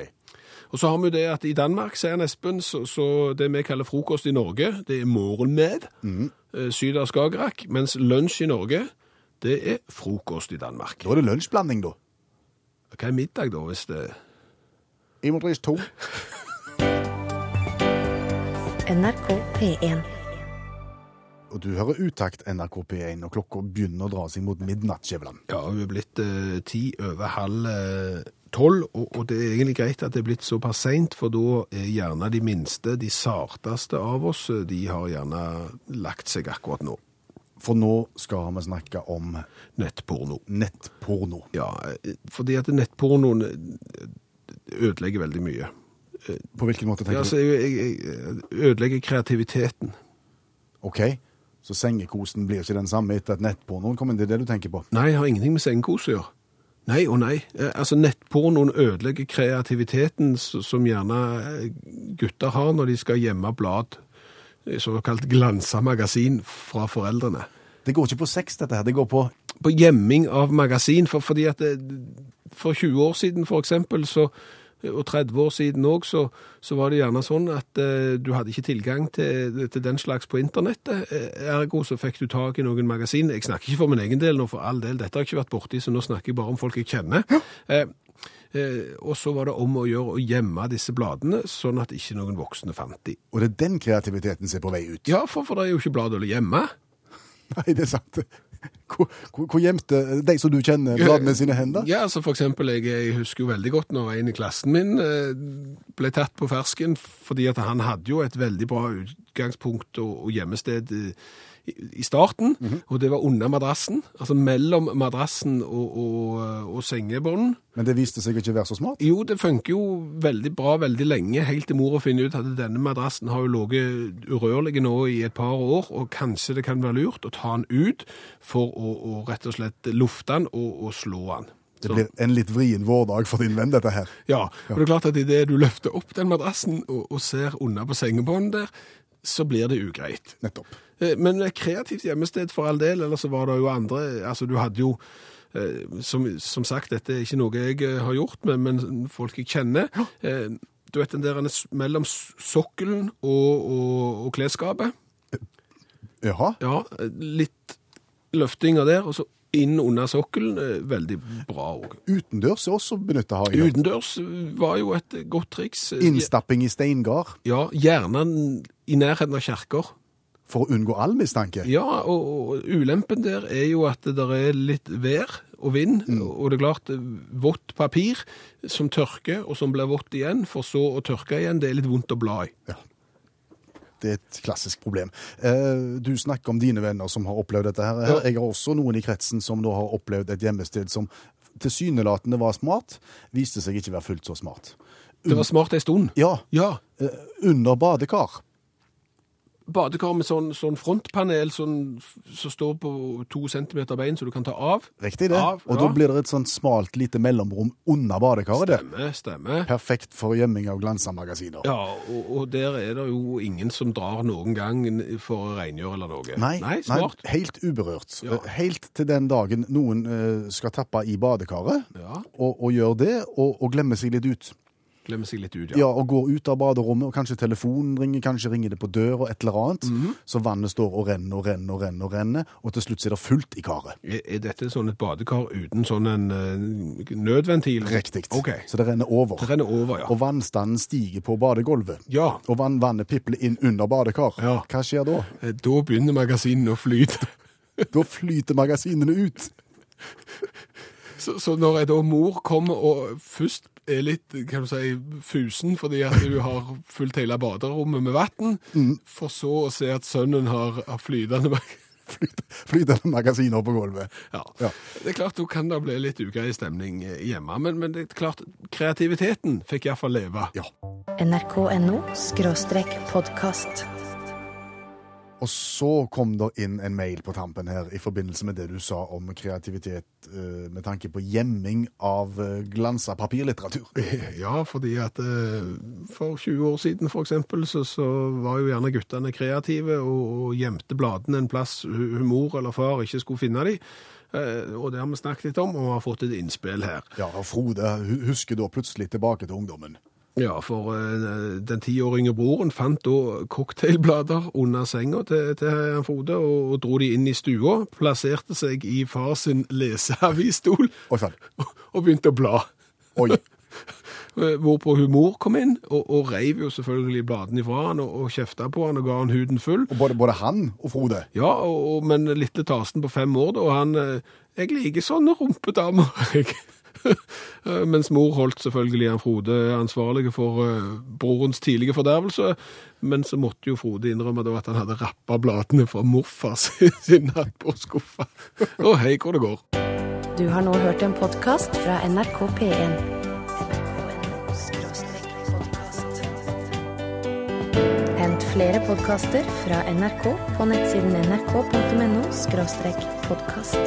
[SPEAKER 3] Og så har vi jo det at i Danmark, sier han Espen, så, så det vi kaller frokost i Norge, det er morgenmed, eh, syd av Skagerrak, mens lunsj i Norge, det er frokost i Danmark.
[SPEAKER 2] Da er det lunsjblanding, da.
[SPEAKER 3] Hva er middag da, hvis det...
[SPEAKER 2] Jeg må drys to.
[SPEAKER 1] NRK P1.
[SPEAKER 2] Og du hører utakt NRK P1, og klokka begynner å dra seg mot midnatt, Skjæveland.
[SPEAKER 3] Ja, hun er blitt eh, ti over halv eh, tolv, og, og det er egentlig greit at det er blitt såpass seint, for da er gjerne de minste, de sarteste av oss, eh, de har gjerne lagt seg akkurat nå.
[SPEAKER 2] For nå skal vi snakke om
[SPEAKER 3] Nettporno.
[SPEAKER 2] nettporno.
[SPEAKER 3] Ja, eh, fordi at nettpornoen eh, ødelegger veldig mye.
[SPEAKER 2] På hvilken måte
[SPEAKER 3] Ja,
[SPEAKER 2] tenker
[SPEAKER 3] altså, jeg, jeg, jeg ødelegger kreativiteten.
[SPEAKER 2] du? OK, så sengekosen blir ikke den samme etter at nettpornoen kom inn. Det er det du tenker på?
[SPEAKER 3] Nei, jeg har ingenting med sengekos å gjøre. Nei og nei. Eh, Altså, Nettpornoen ødelegger kreativiteten s- som gjerne eh, gutter har når de skal gjemme blad, eh, såkalt glansa magasin, fra foreldrene.
[SPEAKER 2] Det går ikke på sex, dette her. Det går på
[SPEAKER 3] På gjemming av magasin, for, fordi at det, for 20 år siden for eksempel, så, og 30 år siden òg, så, så var det gjerne sånn at eh, du hadde ikke tilgang til, til den slags på internettet. Eh, Ergo så fikk du tak i noen magasin. Jeg snakker ikke for min egen del nå, for all del, dette har jeg ikke vært borti, så nå snakker jeg bare om folk jeg kjenner. Eh, eh, og så var det om å gjøre å gjemme disse bladene, sånn at ikke noen voksne fant de.
[SPEAKER 2] Og det er den kreativiteten som er på vei ut.
[SPEAKER 3] Ja, for, for det er jo ikke blad å gjemme.
[SPEAKER 2] Nei, det er sant. Hvor, hvor, hvor gjemte de som du kjenner, bladene sine hender?
[SPEAKER 3] Ja, altså for eksempel, jeg, jeg husker jo veldig godt når en i klassen min eh, ble tatt på fersken, fordi at han hadde jo et veldig bra utgangspunkt og, og gjemmested eh, i, i starten,
[SPEAKER 2] Mhm.
[SPEAKER 3] og det var under madrassen, altså mellom madrassen og, og, eh, og sengebånden.
[SPEAKER 2] Men det viste seg ikke å være så smart.
[SPEAKER 3] Jo, det funker jo veldig bra veldig lenge, helt til mor finner ut at denne madrassen har jo ligget urørlig nå i et par år, og kanskje det kan være lurt å ta den ut for å, å rett og slett lufte den og, og slå den.
[SPEAKER 2] Det blir en litt vrien vårdag for din venn, dette her.
[SPEAKER 3] Ja, og det er klart at idet du løfter opp den madrassen og, og ser unna på sengebåndet der, så blir det ugreit.
[SPEAKER 2] Nettopp.
[SPEAKER 3] Eh, Men et kreativt hjemmested for all del, ellers så var det jo andre Altså, du hadde jo eh, som, som sagt, dette er ikke noe jeg eh, har gjort, men, men folk jeg kjenner. Eh, Du vet den der s- mellom s- sokkelen og, og, og klesskapet?
[SPEAKER 2] Jaha.
[SPEAKER 3] Ja, eh, litt løftinger der, og så inn under sokkelen. eh, Veldig bra òg.
[SPEAKER 2] Utendørs er også benytta, har jeg hørt.
[SPEAKER 3] Utendørs eh, var jo et godt triks. Eh,
[SPEAKER 2] Innstapping i steingard
[SPEAKER 3] Ja, gjerne i nærheten av kjerker.
[SPEAKER 2] for å unngå all mistanke.
[SPEAKER 3] Ja, og, og ulempen der er jo at det der er litt vær og vind,
[SPEAKER 2] Mm.
[SPEAKER 3] og det er klart vått papir som tørker, og som blir vått igjen, for så å tørke igjen, det er litt vondt å bla i.
[SPEAKER 2] Det er et klassisk problem. Eh, Du snakker om dine venner som har opplevd dette. her. Jeg har også noen i kretsen som nå har opplevd et hjemmested som tilsynelatende var smart, viste seg ikke være fullt så smart.
[SPEAKER 3] Det var smart ei stund.
[SPEAKER 2] Mm. Ja,
[SPEAKER 3] Ja,
[SPEAKER 2] eh, under badekar.
[SPEAKER 3] badekar med sånn, sånn frontpanel sånn, som står på to centimeter bein, så du kan ta av.
[SPEAKER 2] Riktig det.
[SPEAKER 3] Av,
[SPEAKER 2] Og
[SPEAKER 3] ja.
[SPEAKER 2] da blir det et sånt smalt lite mellomrom under badekaret. det.
[SPEAKER 3] Stemme, stemme.
[SPEAKER 2] Perfekt for gjemming av glansa magasiner.
[SPEAKER 3] Ja, og, og der er det jo ingen som drar noen gang for å rengjøre eller noe.
[SPEAKER 2] Nei,
[SPEAKER 3] Nei smart.
[SPEAKER 2] nei, helt uberørt. Eh,
[SPEAKER 3] Ja.
[SPEAKER 2] Helt til den dagen noen eh, skal tappe i badekaret,
[SPEAKER 3] Ja.
[SPEAKER 2] og, og gjør det, og, og glemmer seg litt ut.
[SPEAKER 3] Glemmer seg litt ut,
[SPEAKER 2] Ja, og går ut av baderommet, og kanskje telefonen ringer, kanskje ringer det på døra, et eller annet.
[SPEAKER 3] Mhm.
[SPEAKER 2] Så vannet står og renner og renner og renner, og renner, og til slutt så er det fullt i karet.
[SPEAKER 3] Er er dette sånn et badekar uten sånn en eh, nødventil?
[SPEAKER 2] Riktig.
[SPEAKER 3] Ok.
[SPEAKER 2] Så det renner over.
[SPEAKER 3] Det renner over, ja.
[SPEAKER 2] Og vannstanden stiger på badegulvet.
[SPEAKER 3] Ja,
[SPEAKER 2] Og vann, vannet pipler inn under badekar.
[SPEAKER 3] Ja.
[SPEAKER 2] Hva skjer da?
[SPEAKER 3] eh, da begynner magasinene å flyte.
[SPEAKER 2] Da flyter magasinene ut.
[SPEAKER 3] Så, så når jeg da mor kommer og først er litt, kan du si, fusen fordi at du har fullt hele baderommet med vatten,
[SPEAKER 2] Mm.
[SPEAKER 3] for så å se at sønnen har, har flytende mag-
[SPEAKER 2] Flyt, flytende magasiner på gulvet.
[SPEAKER 3] Ja.
[SPEAKER 2] Ja.
[SPEAKER 3] Det er klart, da kan det bli litt ugrei stemning eh, hjemme, men, men det er klart, kreativiteten fikk iallfall leve.
[SPEAKER 2] Ja.
[SPEAKER 1] NRK.no skråstrek podkast.
[SPEAKER 2] Og så kom det inn en mail på tampen her i forbindelse med det du sa om kreativitet eh, med tanke på gjemming av eh, glansa papirlitteratur.
[SPEAKER 3] Ja, fordi at eh, for 20 år siden for eksempel, så, så var jo gjerne guttene kreative og, og gjemte bladene en plass hu- hu- mor eller far ikke skulle finne de. Eh, og det har vi snakket litt om, og vi har fått et innspill her.
[SPEAKER 2] Ja, og Frode hu- husker da plutselig tilbake til ungdommen.
[SPEAKER 3] Ja, for eh, den tiåringe broren fant da cocktailblader under senga til, til herr Frode, og, og dro de inn i stua, plasserte seg i far sin leseavisstol
[SPEAKER 2] Oi sann.
[SPEAKER 3] og, og begynte å bla.
[SPEAKER 2] Oi.
[SPEAKER 3] eh, Hvorpå hun mor kom inn og, og reiv jo selvfølgelig bladene ifra han og, og kjefta på han og ga han huden full.
[SPEAKER 2] Og både, både han og Frode.
[SPEAKER 3] Ja, og, og, men lille Tarsten på fem år, da, og han eh, Jeg liker sånne rumpedamer, jeg. Eh, Mens mor holdt selvfølgelig han Frode ansvarlig for eh, brorens tidlige fordervelse. Men så måtte jo Frode innrømme da at han hadde rappa bladene fra morfar sin nattbordskuffe. Og hei hvor det går.
[SPEAKER 1] Du har nå hørt en podkast fra NRK P1. NRK.no-podkast. Hent flere podkaster fra NRK på nettsiden nrk.no-podkast.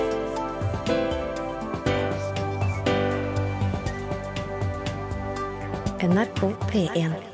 [SPEAKER 1] NRK P1.